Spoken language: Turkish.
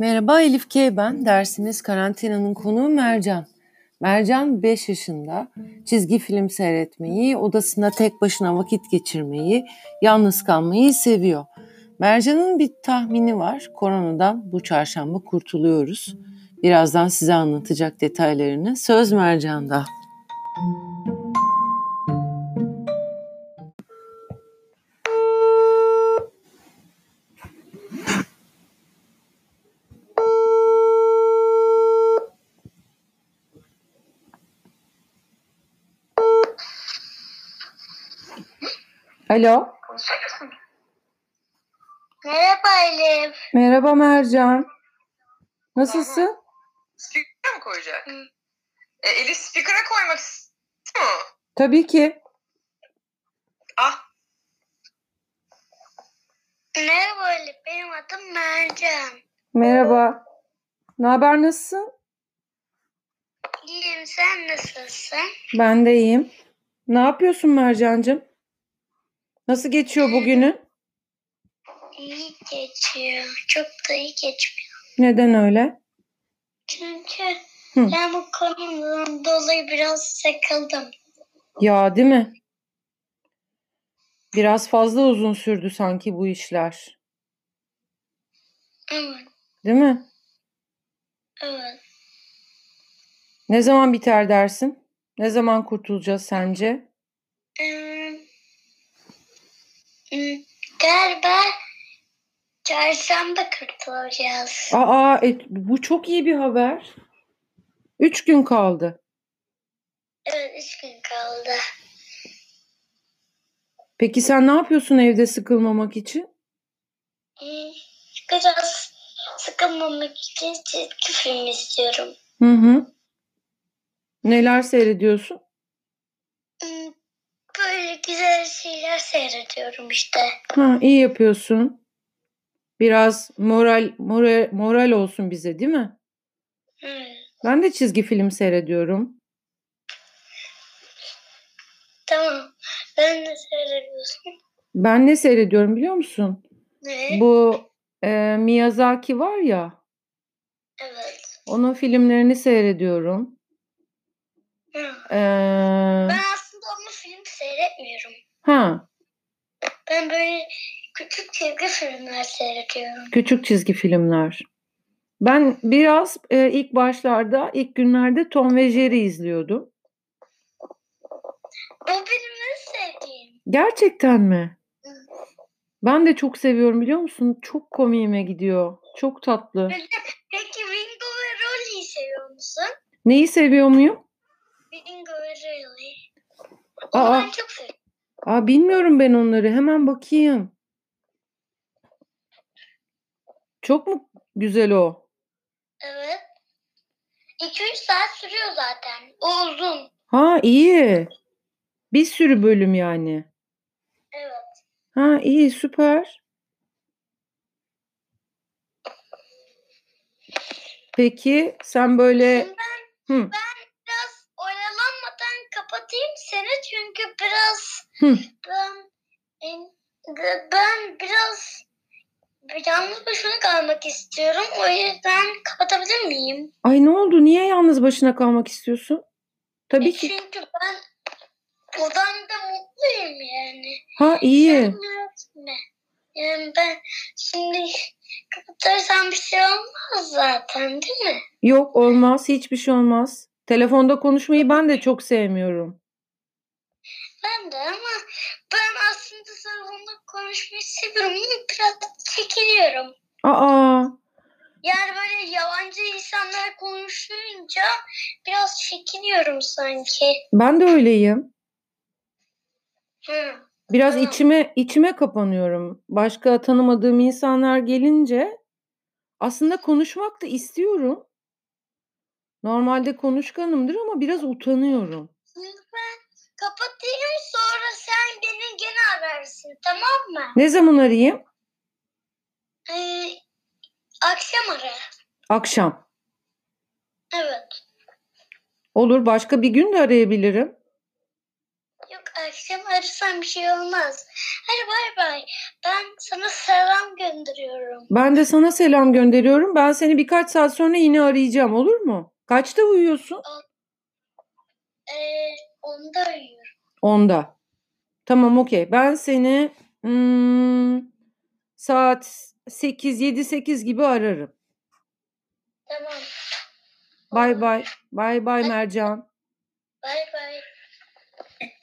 Merhaba Elif K. ben. Dersimiz karantinanın konuğu Mercan. Mercan 5 yaşında. Çizgi film seyretmeyi, odasında tek başına vakit geçirmeyi, yalnız kalmayı seviyor. Mercan'ın bir tahmini var. Koronadan bu çarşamba kurtuluyoruz. Birazdan size anlatacak detaylarını. Söz Mercan'da. Alo. Merhaba Elif. Merhaba Mercan. Nasılsın? Speaker'a mı koyacak? E, Elif speaker'a koymak istiyor mu? Tabii ki. Ah Merhaba Elif. Benim adım Mercan. Merhaba. Ne haber nasılsın? İyiyim. Sen nasılsın? Ben de iyiyim. Ne yapıyorsun Mercancığım? Nasıl geçiyor bugünün? İyi geçiyor. Çok da iyi geçmiyor. Neden öyle? Çünkü Hı. ben bu konunun dolayı biraz sıkıldım. Ya değil mi? Biraz fazla uzun sürdü sanki bu işler. Evet. Değil mi? Evet. Ne zaman biter dersin? Ne zaman kurtulacağız sence? Hmm. Hmm. Galiba çarşamba kurtulacağız. Aa, e, bu çok iyi bir haber. Üç gün kaldı. Evet. Üç gün kaldı. Peki sen ne yapıyorsun evde sıkılmamak için? Hmm. Biraz sıkılmamak için çizgi film istiyorum. Hı hı. Neler seyrediyorsun? Hmm, Böyle güzel şeyler seyrediyorum işte. Ha, iyi yapıyorsun. Biraz moral moral moral olsun bize, değil mi? Hmm, Ben de çizgi film seyrediyorum. Tamam. Ben de seyrediyorsun. Ben ne seyrediyorum biliyor musun? Ne? Bu e, Miyazaki var ya, Evet. onun filmlerini seyrediyorum. Hmm. E, Ben aslında ama film seyretmiyorum. ha, Ben böyle küçük çizgi filmler seyrediyorum. küçük çizgi filmler. Ben biraz e, ilk başlarda, ilk günlerde Tom ve Jerry izliyordum. O benim en sevdiğim. Gerçekten mi? Hı. Ben de çok seviyorum biliyor musun? Çok komiğime gidiyor. Çok tatlı. Peki, peki Ringo ve Rolly'yi seviyor musun? Neyi seviyor muyum? Ringo ve Rolly. Onu Aa, ben çok seviyorum. aa bilmiyorum ben onları. Hemen bakayım. Çok mu güzel o? Evet. 2-3 saat sürüyor zaten. O uzun. Ha iyi. Bir sürü bölüm yani. Evet. Ha iyi süper. Peki sen böyle Şimdi hı, biraz oyalanmadan kapatayım seni çünkü biraz Hı. ben ben biraz yalnız başına kalmak istiyorum. O yüzden kapatabilir miyim? ay ne oldu? Niye yalnız başına kalmak istiyorsun? Tabii ki. Çünkü ben odamda mutluyum yani. Ha iyi. Sen ne yapma. Yani ben şimdi kapatarsam bir şey olmaz zaten değil mi? Yok olmaz. Hiçbir şey olmaz. Telefonda konuşmayı ben de çok sevmiyorum. Ben de ama ben aslında telefonda konuşmayı seviyorum ama biraz çekiliyorum. Aa, Yani böyle yabancı insanlar konuşunca biraz çekiniyorum sanki. ben de öyleyim. Hı. Biraz Tamam. içime içime kapanıyorum. Başka tanımadığım insanlar gelince aslında konuşmak da istiyorum. Normalde konuşkanımdır ama biraz utanıyorum. Şimdi ben kapatayım sonra sen beni gene ararsın tamam mı? Ne zaman arayayım? Ee, akşam ara. Akşam. Evet. Olur, başka bir gün de arayabilirim. Yok akşam arasam bir şey olmaz. Hadi bay bay. Ben sana selam gönderiyorum. Ben de sana selam gönderiyorum. Ben seni birkaç saat sonra yine arayacağım olur mu? Kaçta uyuyorsun? Ee, onu da arıyorum. Onda. Tamam okey. Ben seni hmm, saat 8 7 8 gibi ararım. Tamam. Bay bay. Bay bay Mercan. Bay bay.